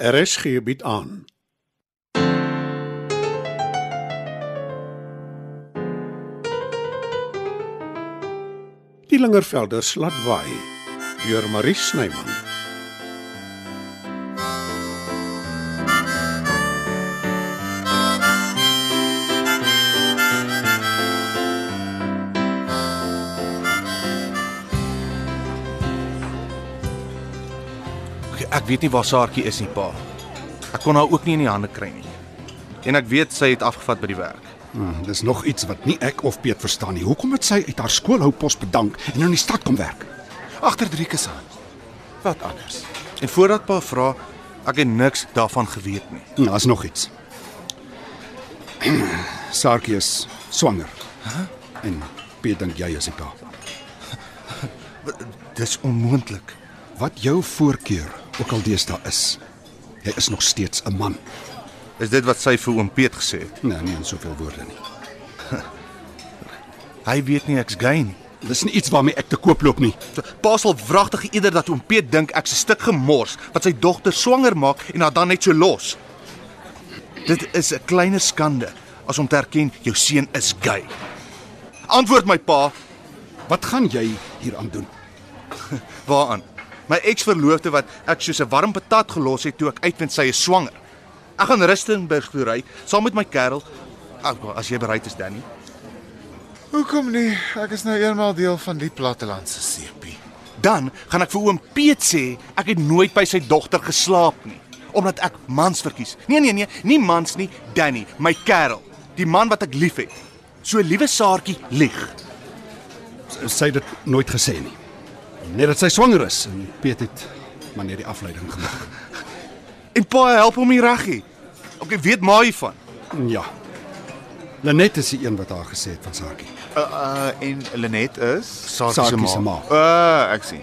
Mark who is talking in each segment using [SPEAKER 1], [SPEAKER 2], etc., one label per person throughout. [SPEAKER 1] RSG bied aan. Die Lingervelders laat waai deur Marie Snyman.
[SPEAKER 2] Ek- Ek weet nie waar Saartjie is nie, pa. Ek kon haar ook nie in die hande kry nie. En ek weet sy het afgevat by die werk.
[SPEAKER 3] Hmm, dis nog iets wat nie ek of Piet verstaan nie. Hoekom het sy uit haar skoolhoupos bedank en nou in die stad kom werk? Agter Driekus aan. Wat anders?
[SPEAKER 2] En voordat pa vra, ek het niks daarvan geweet nie.
[SPEAKER 3] Nou, daar's nog iets. Sarkie is swanger. Huh? En Piet dink jy is die pa.
[SPEAKER 2] Dis onmoontlik.
[SPEAKER 3] Wat jou voorkeur ook al deesdae is, jy is nog steeds 'n man.
[SPEAKER 2] Is dit wat sy vir oom Piet gesê het?
[SPEAKER 3] Nee, nie in soveel woorde nie.
[SPEAKER 2] Hy weet nie ek's gay nie.
[SPEAKER 3] Dis nie iets waarmee ek te koop loop nie.
[SPEAKER 2] Pa sal wragtig eerder dat oom Piet dink ek's 'n stuk gemors wat sy dogter swanger maak en haar dan net so los. Dit is 'n kleiner skande as om te erken jou seun is gay. Antwoord my pa,
[SPEAKER 3] Wat gaan jy hieraan doen?
[SPEAKER 2] Waaraan? My eksverloofde wat ek soos 'n warm patat gelos het toe ek uitvind sy is swanger. Ek gaan Rustenburg toe ry saam met my kerel. Ag, as jy bereid is, Danny.
[SPEAKER 4] Hoekom nie? Ek is nou eenmal deel van die plattelandse seepie.
[SPEAKER 2] Dan gaan ek vir oom Piet sê ek het nooit by sy dogter geslaap nie, omdat ek mans verkies. Nee nee nee, nie mans nie, Danny, my kerel, die man wat ek liefhet. So liewe Saartjie lieg.
[SPEAKER 3] Sy het dit nooit gesê nie. Net dat sy swanger is en Piet het maar net die afleiding gemaak.
[SPEAKER 2] En pa help hom hier reggie. Okay, weet maar hiervan.
[SPEAKER 3] Ja. Lenet is die een wat haar gesê het van Sakie.
[SPEAKER 4] Uh, uh en Lenet is?
[SPEAKER 3] Sakie se ma.
[SPEAKER 4] Uh, ek sien.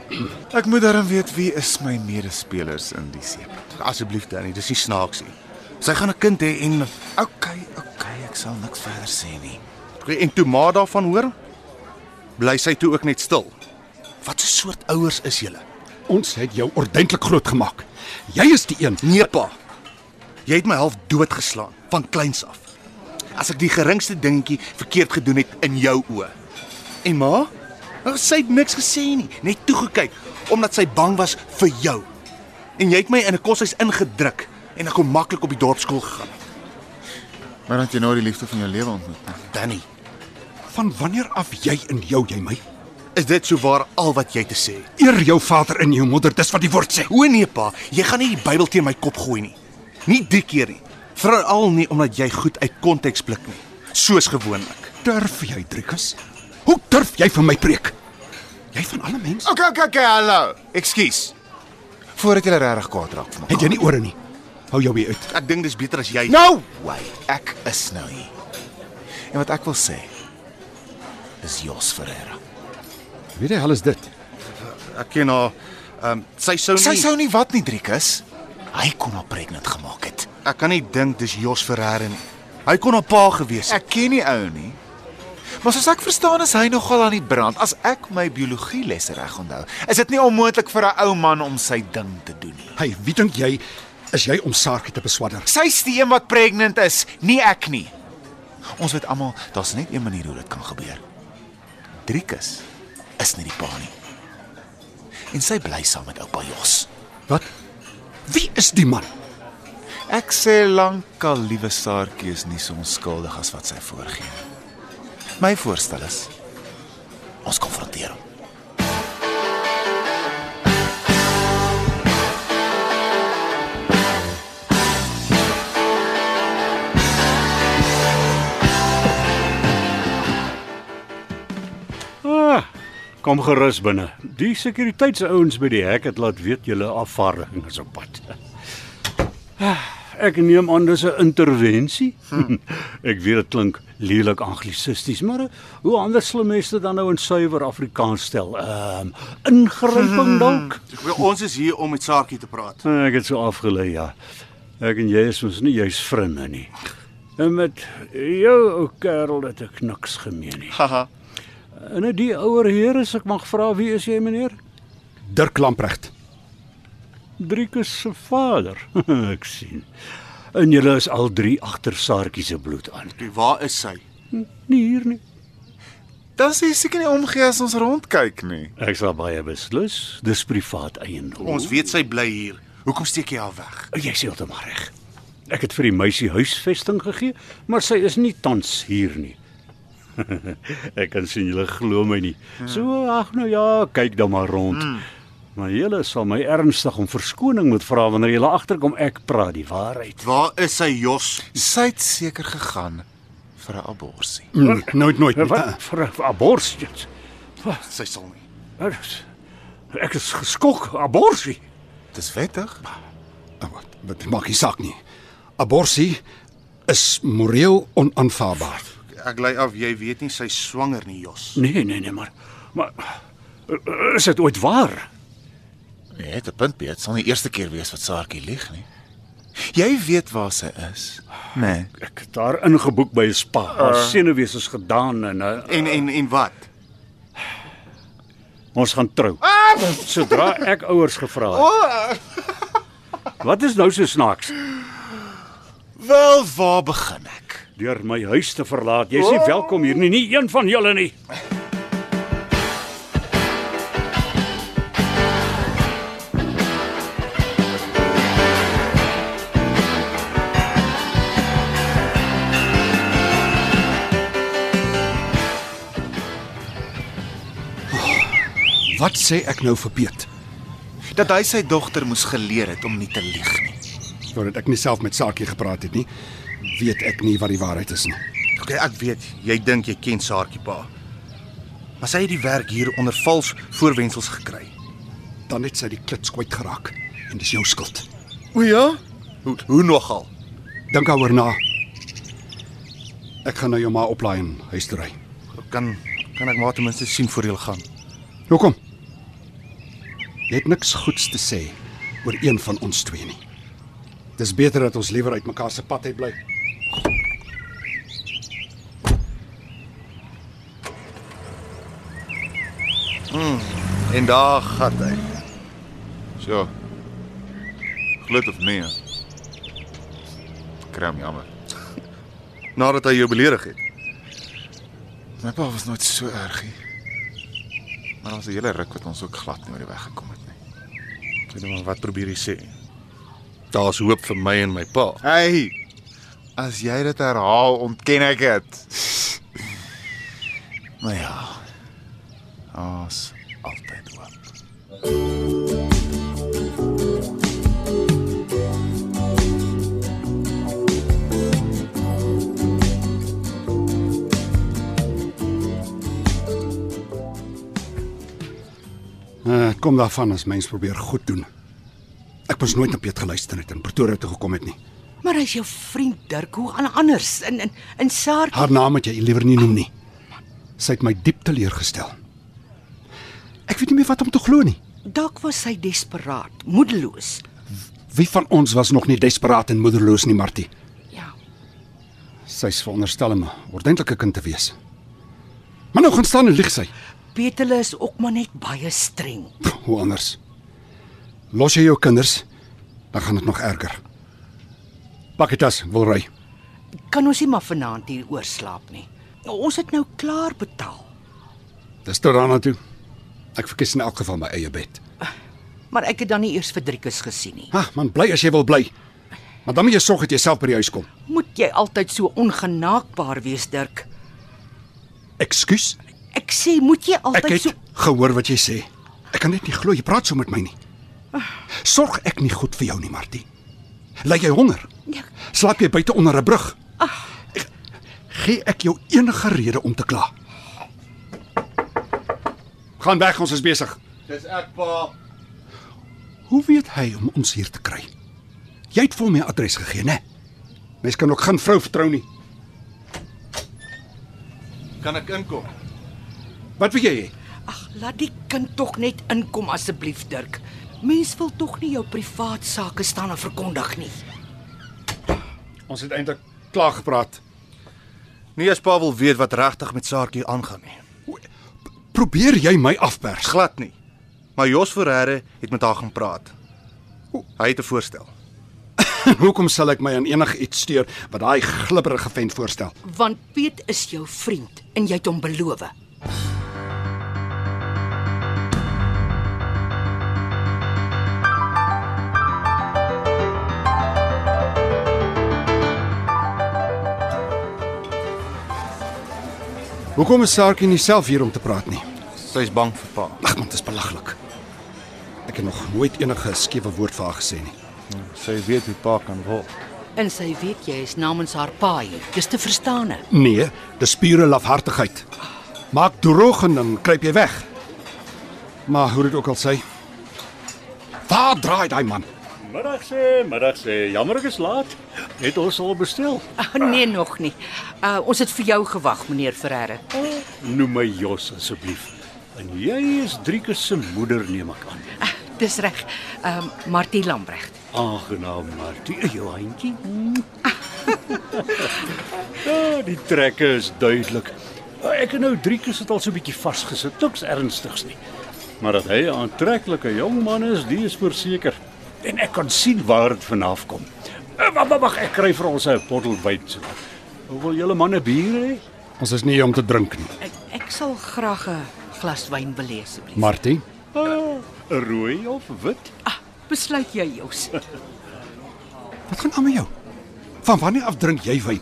[SPEAKER 4] Ek moet darm weet wie is my medespelers in die seep.
[SPEAKER 2] Asseblief Danny, dis nie snaaks nie. Sy gaan 'n kind hê en
[SPEAKER 4] OK, OK, ek sal niks verder sê nie.
[SPEAKER 2] en toe maar daarvan hoor, bly sy toe ook net stil. Wat 'n soort ouers is julle?
[SPEAKER 3] Ons het jou ordentlik groot gemaak. Jy is die een.
[SPEAKER 2] Nee pa. Jy het my half doodgeslaan van kleins af. As ek die geringste dingetjie verkeerd gedoen het in jou oë. En ma? Nou, Sy het niks gesê nie, net toegekyk omdat sy bang was vir jou. En jy het my in 'n koshuis ingedruk en ek kon maklik op die dorpskool gegaan.
[SPEAKER 4] Maar dat jy nou die liefde van jou lewe ontmoet.
[SPEAKER 2] Danny,
[SPEAKER 3] Van wanneer af jy in jou jy my?
[SPEAKER 2] is dit souwaar al wat jy te sê het?
[SPEAKER 3] Eer jou vader en jou moeder, dis wat die woord sê.
[SPEAKER 2] O nee pa, jy gaan nie die Bybel teen my kop gooi nie. Nie die keer nie. Veral nie omdat jy goed uit konteks blik nie, soos gewoonlik.
[SPEAKER 3] Durf jy, Driekus? Hoe durf jy vir my preek? Jy van alle mense?
[SPEAKER 4] OK, OK, OK, hallo.
[SPEAKER 2] Ekskuus.
[SPEAKER 4] Voordat jy regtig kwaad raak vir my.
[SPEAKER 3] Het jy nie ore nie? Hou jou weer uit.
[SPEAKER 2] Ek dink dis beter as jy.
[SPEAKER 4] Nou, wait. Ek is nou hier. En wat ek wil sê is Jos Ferreira.
[SPEAKER 3] Wie die hel is dit?
[SPEAKER 2] ek ken haar. Ehm um, sy sou nie
[SPEAKER 4] Sy sou nie wat nie, Driekus. Hy kon haar pregnant gemaak het.
[SPEAKER 2] Ek kan nie dink dis Jos Ferreira nie. Hy kon haar pa gewees het.
[SPEAKER 4] Ek ken nie ou nie. Maar soos ek verstaan is hy nogal aan die brand. As ek my biologie lesse reg onthou, is dit nie onmoontlik vir 'n ou man om sy ding te doen nie.
[SPEAKER 3] Hey, wie dink jy is jy om Sakie te beswadder?
[SPEAKER 4] Sy's die een wat pregnant is, nie ek nie. Ons weet almal daar's net een manier hoe dit kan gebeur. Driekus is nie die pa nie. En sy bly saam met oupa Jos.
[SPEAKER 3] Wat? Wie is die man?
[SPEAKER 4] Ek sê lankal liewe Saartjie is nie so onskuldig as wat sy voorgee nie. My voorstel is ons konfronteer hom.
[SPEAKER 5] Ah, kom gerus binne. Die sekuriteitsouens by die hek het laat weet julle afvaardiging is op pad. Ah, Ek neem aan dis 'n intervensie. Ek weet dit klink lelik anglisisties, maar eh, hoe anders sal mense dan nou in suiwer Afrikaans stel? Ehm um, ingryping dalk?
[SPEAKER 2] Ons is hier om met Saartjie te praat.
[SPEAKER 5] Ah, Ek het so afgelei, ja. Ek en jy is mos nie jy's vriende nie. En met jou ou kerel het ek niks gemeen nie.
[SPEAKER 2] Haha.
[SPEAKER 5] En nou die ouer heer, as ek mag vra, wie is jy meneer?
[SPEAKER 3] Dirk Lamprecht.
[SPEAKER 5] Driekus se vader. Ek sien. En julle is al drie agter Saartjie se bloed aan.
[SPEAKER 2] Toe waar is sy?
[SPEAKER 5] Nie hier nie.
[SPEAKER 4] Dan sê jy seker nie omgee as ons rondkyk nie.
[SPEAKER 5] Ek sal baie beslis. Dis privaat eiendom. Oh,
[SPEAKER 2] Ons weet sy bly hier.
[SPEAKER 4] Hoekom steek jy haar weg?
[SPEAKER 5] Jy sê heeltemal reg. Ek het vir die meisie huisvesting gegee, maar sy is nie tans hier nie. ek kan sien julle glo my nie. So ag nou ja, kyk dan maar rond. Maar julle sal my ernstig om verskoning moet vra wanneer julle agterkom ek praat die waarheid.
[SPEAKER 2] Waar is sy Jos?
[SPEAKER 4] Sy het seker gegaan vir 'n abortus.
[SPEAKER 3] Mm, nooit nooit. nie.
[SPEAKER 5] Wat vir 'n abortus? dit?
[SPEAKER 2] Sy sal nie.
[SPEAKER 5] Wat is- Ek is geskok, abortus.
[SPEAKER 4] Dis wettig.
[SPEAKER 3] Ah, Wat wat maak nie saak nie. Aborsie is moreel onaanvaarbaar.
[SPEAKER 2] Ek lei af jy weet nie sy is swanger nie Jos.
[SPEAKER 5] Nee, nee, nee, maar maar eh, is dit ooit waar?
[SPEAKER 4] Jy het 'n Nee, punt, Piet. Sal nie die eerste keer wees wat Saartjie lieg nie. Jy weet waar sy is. Nee.
[SPEAKER 5] Ek het haar ingeboek by 'n spa. Haar senuwees is gedaan en uh,
[SPEAKER 2] En en en wat?
[SPEAKER 5] Ons gaan trou. Sodra ek ouers gevra het. Wat is nou so snaaks?
[SPEAKER 4] Wel, waar begin ek?
[SPEAKER 5] Deur my huis te verlaat. Jy's nie welkom hier nie, nie een van julle nie.
[SPEAKER 3] Wat sê ek nou vir Piet?
[SPEAKER 4] Dat hy sy dogter moes geleer het om nie te lieg nie.
[SPEAKER 3] Voordat ek nie self met Saartjie gepraat het nie, weet ek nie wat die waarheid is nie.
[SPEAKER 2] Okay, ek weet, jy dink jy ken Saartjie pa. Maar sy het die werk hier onder vals voorwendsels gekry.
[SPEAKER 3] Dan het sy die klits kwyt geraak en dis jou skuld.
[SPEAKER 2] O ja? Hoe hoe nogal?
[SPEAKER 3] Dink daaroor na. Ek gaan nou jou ma oplaai en huis toe ry.
[SPEAKER 2] Kan kan ek maar ten minste sien voor jy gaan.
[SPEAKER 3] Hoekom? Jy het niks goeds te sê oor een van ons twee nie. Dis beter dat ons liewer uitmekaar se pad uit bly.
[SPEAKER 2] En daar gaan hy.
[SPEAKER 4] So. Glit of nee. Kram jammer.
[SPEAKER 2] Nadat hy jou beledig het.
[SPEAKER 4] My pa was nooit so ergie. Maar ons het 'n hele ruk wat ons ook glad nie oor die weg gekom het nie.
[SPEAKER 2] Ek weet nie maar wat probeer hy sê. Daar's hoop vir my en my pa.
[SPEAKER 4] Hey. As jy dit herhaal, ontken ek dit. Maar ja. Ons altyd hoop.
[SPEAKER 3] Uh, kom daarvan as mens probeer goed doen. Ek moes nooit op Piet geluister het en Pretoria toe gekom het nie.
[SPEAKER 6] Maar hy's jou vriend Dirk, hoe aan anders? In in in Saar
[SPEAKER 3] Haar naam moet jy liewer nie noem nie. Sy het my diep teleurgestel. Ek weet nie meer wat om te glo nie.
[SPEAKER 6] dalk was hy desperaat, moedeloos.
[SPEAKER 3] Wie van ons was nog nie desperaat en moederloos nie, Martie?
[SPEAKER 6] Ja.
[SPEAKER 3] Sy's veronderstel om 'n ordentlike kind te wees. Maar nou gaan staan en lieg sy.
[SPEAKER 6] Weet hulle is ook maar net baie streng.
[SPEAKER 3] Pff, Hoe anders? Los jy jou kinders, dan gaan dit nog erger. Pak dit as wil ry.
[SPEAKER 6] Kan ons nie maar vanaand hier oorslaap nie. Ons het nou klaar betaal.
[SPEAKER 3] Dis tot daarna toe. Ek verkies in elk geval my eie bed.
[SPEAKER 6] Maar ek het dan nie eers vir Driekus gesien nie.
[SPEAKER 3] Ha, Ah, man, bly as jy wil bly. Maar dan moet jy sorg dat jy self by die huis kom.
[SPEAKER 6] Moet jy altyd so ongenaakbaar wees, Dirk?
[SPEAKER 3] Ekskuus,
[SPEAKER 6] Ek sê, moet jy
[SPEAKER 3] ek
[SPEAKER 6] altyd
[SPEAKER 3] het
[SPEAKER 6] so
[SPEAKER 3] gehoor wat jy sê. Ek kan net nie glo jy praat so met my nie.
[SPEAKER 6] Ah.
[SPEAKER 3] Sorg ek nie goed vir jou nie, Martie. Ly jy honger?
[SPEAKER 6] Ja.
[SPEAKER 3] Slaap jy buite onder 'n brug? Ag. Gee ek jou enige rede om te kla. Gaan weg, ons is besig.
[SPEAKER 2] Dis ek pa.
[SPEAKER 3] Hoe weet hy om ons hier te kry? Jy het vir my adres gegee, né? Mens kan ook geen vrou vertrou nie.
[SPEAKER 2] Kan ek inkom?
[SPEAKER 3] Wat wil jy hê?
[SPEAKER 6] Ag, laat die kind tog net inkom asseblief, Dirk. Mens wil tog nie jou privaat sake staan en verkondig nie.
[SPEAKER 3] Ons het eintlik klaar gepraat.
[SPEAKER 2] Nie Nee, as pa wil weet wat regtig met Saartjie aangaan nie.
[SPEAKER 3] Probeer jy my afpers?
[SPEAKER 2] Glad nie. Maar Jos Ferreira het met haar gaan praat. Hy het 'n voorstel.
[SPEAKER 3] Hoekom sal ek my aan enigiets steur wat daai glibberige vent voorstel?
[SPEAKER 6] want Piet is jou vriend en jy het hom beloof.
[SPEAKER 3] Hoekom is Saartjie nie self hier om te praat nie?
[SPEAKER 2] Sy's bang vir pa.
[SPEAKER 3] Ag man, dit is belaglik. Ek het nog nooit enige skewe woord vir haar gesê nie.
[SPEAKER 2] Sy weet hoe pa kan word.
[SPEAKER 6] En sy weet jy is namens haar pa hier. Dis te verstaan.
[SPEAKER 3] Nee, dis pure lafhartigheid. Maak droog en dan kruip jy weg. Maar hoe dit ook al sê, waar draai daai man?
[SPEAKER 5] Middag sê, middag sê. Jammer ek is laat. Het ons al bestel?
[SPEAKER 6] Ag nee nog nie. Uh ons het vir jou gewag, meneer Ferreira.
[SPEAKER 5] Noem my Jos asseblief. En jy is Driekus se moeder neem ek aan.
[SPEAKER 6] Ah, dis reg. Ehm um, Martie Lambregt.
[SPEAKER 5] Aangenaam, Martie. Eh, Jou handjie. ja, die trekke is duidelik. Ek en nou Driekus het al so 'n bietjie vasgesit, niks ernstigs nie. Maar dat hy 'n aantreklike jong man is, die is verseker. En ek kan sien waar dit vanaf kom. Eh, Wag, wag, wag, ek kry vir ons 'n bottel wyn so. Wil julle manne bier hê?
[SPEAKER 3] Ons is nie hier om te drink nie,
[SPEAKER 6] Ek, ek sal graag 'n glas wyn wil hê asseblief.
[SPEAKER 3] Martie.
[SPEAKER 5] Ah, 'n Rooi of wit?
[SPEAKER 6] Ah, besluit jy Jos.
[SPEAKER 3] Wat gaan aan met jou? Van wanneer af drink jy wyn?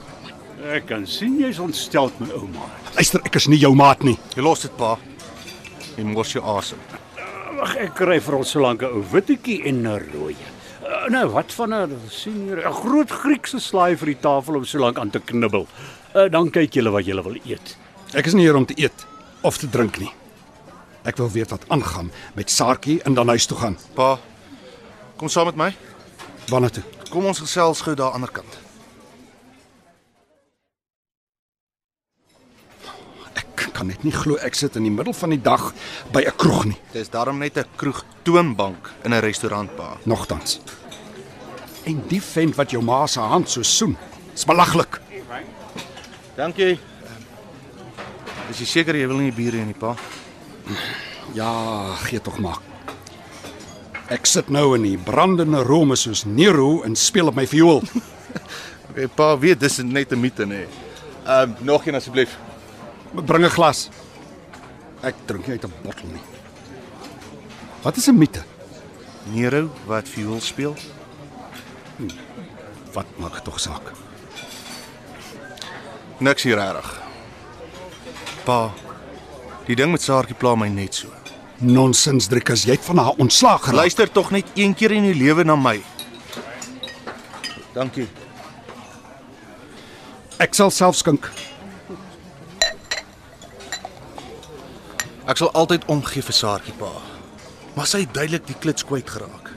[SPEAKER 5] Ek kan sien jy's ontstel my ouma.
[SPEAKER 3] Luister, ek is nie jou maat nie.
[SPEAKER 2] Jy los dit pa. Jy mors jou asem.
[SPEAKER 5] Wag, ek kry vir ons so lank 'n ou wittetjie en 'n rooi. Eh, Nou, wat van 'n senior, 'n groot Griekse slaai vir die tafel om so lank aan te knibbel. Uh, dan kyk julle wat julle wil eet.
[SPEAKER 3] Ek is nie hier om te eet of te drink nie. Ek wil weet wat aangaan met Saartjie en dan huis toe gaan.
[SPEAKER 2] Pa, kom saam met my.
[SPEAKER 3] Waarna toe?
[SPEAKER 2] Kom ons gesels gou daar aan die ander kant.
[SPEAKER 3] Ek kan net nie glo ek sit in die middel van die dag by 'n kroeg nie,
[SPEAKER 2] Dis daarom net 'n kroeg toonbank in 'n restaurant pa.
[SPEAKER 3] nogtans. En die vent wat jou ma se hand so soen, is belaglik.
[SPEAKER 2] Dankie. Is jy seker jy wil nie bier hê nie pa?
[SPEAKER 3] Ja, gee tog maar. Ek sit nou in die brandende Rome soos Nero en speel op my viool.
[SPEAKER 2] Hey, pa weet dis net 'n mite nê. Ehm um, nog een asseblief.
[SPEAKER 3] Bring 'n glas. Ek drink nie uit 'n bottel nie. Wat is 'n mite?
[SPEAKER 2] Nero wat viool speel?
[SPEAKER 3] Wat maak dit tog saak?
[SPEAKER 2] Niks hier regtig. Pa, die ding met Saartjie pla my net so.
[SPEAKER 3] Nonsens, Driekus, jy het van haar ontslaag geraak.
[SPEAKER 2] Luister tog net een keer in jou lewe na my. Dankie.
[SPEAKER 3] Ek sal self skink.
[SPEAKER 2] Ek sal altyd omgee vir Saartjie pa. Maar sy het duidelik die klits kwyt geraak.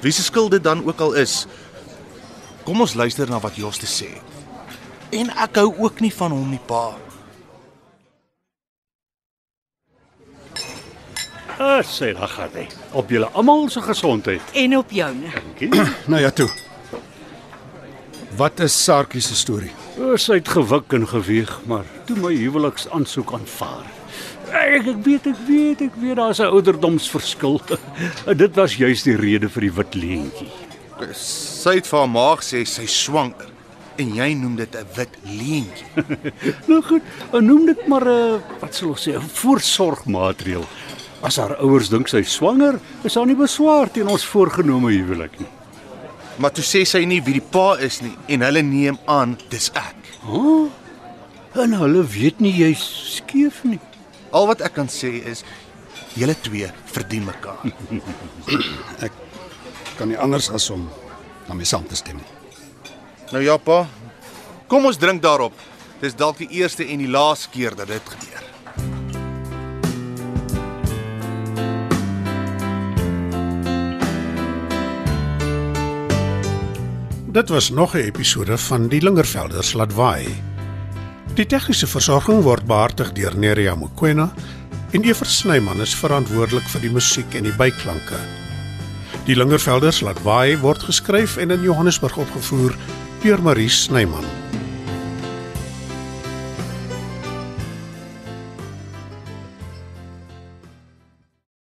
[SPEAKER 2] Wie se skuld dit dan ook al is. Kom ons luister na wat Jos te sê het. En ek hou ook nie van hom nie, pa.
[SPEAKER 5] Ah, sê dan gaan hy. Op julle almal se gesondheid.
[SPEAKER 6] En op jou. ne?
[SPEAKER 5] Dankie.
[SPEAKER 3] Nou ja toe. Wat is Saartjie se storie?
[SPEAKER 5] O, Eh, Sy het gewik en geweeg, maar toe my huweliksaansoek aanvaar. Ek ek weet, ek weet, ek weet daar's 'n ouderdomsverskil. Eh, Dit was juis die rede vir die wit leentjie.
[SPEAKER 2] Sy het vir haar ma gesê sy swanger en jy noem dit 'n wit leentjie.
[SPEAKER 5] Nou goed, eh, noem dit maar 'n wat sal ons sê, 'n voorsorgmaatreël. As haar ouers dink sy is swanger, is daar nie beswaar teen ons voorgenome huwelik nie.
[SPEAKER 2] Maar toe sê sy nie wie die pa is nie en hulle neem aan dis ek.
[SPEAKER 5] En hulle weet nie jy's skeef nie.
[SPEAKER 2] Al wat ek kan sê is julle twee verdien mekaar.
[SPEAKER 3] Kan nie anders as om na my saam te stem nie.
[SPEAKER 2] Nou ja, pa. Kom ons drink daarop. Dis dalk die eerste en die laaste keer dat dit gebeur.
[SPEAKER 1] Dit was nog 'n episode van Die Lingervelders laat waai. Die tegniese versorging word behartig deur Neriya Mkwena en Evert Snyman is verantwoordelik vir die musiek en die byklanke. Die Lingervelders laat waai word geskryf en in Johannesburg opgevoer deur Marie Snyman.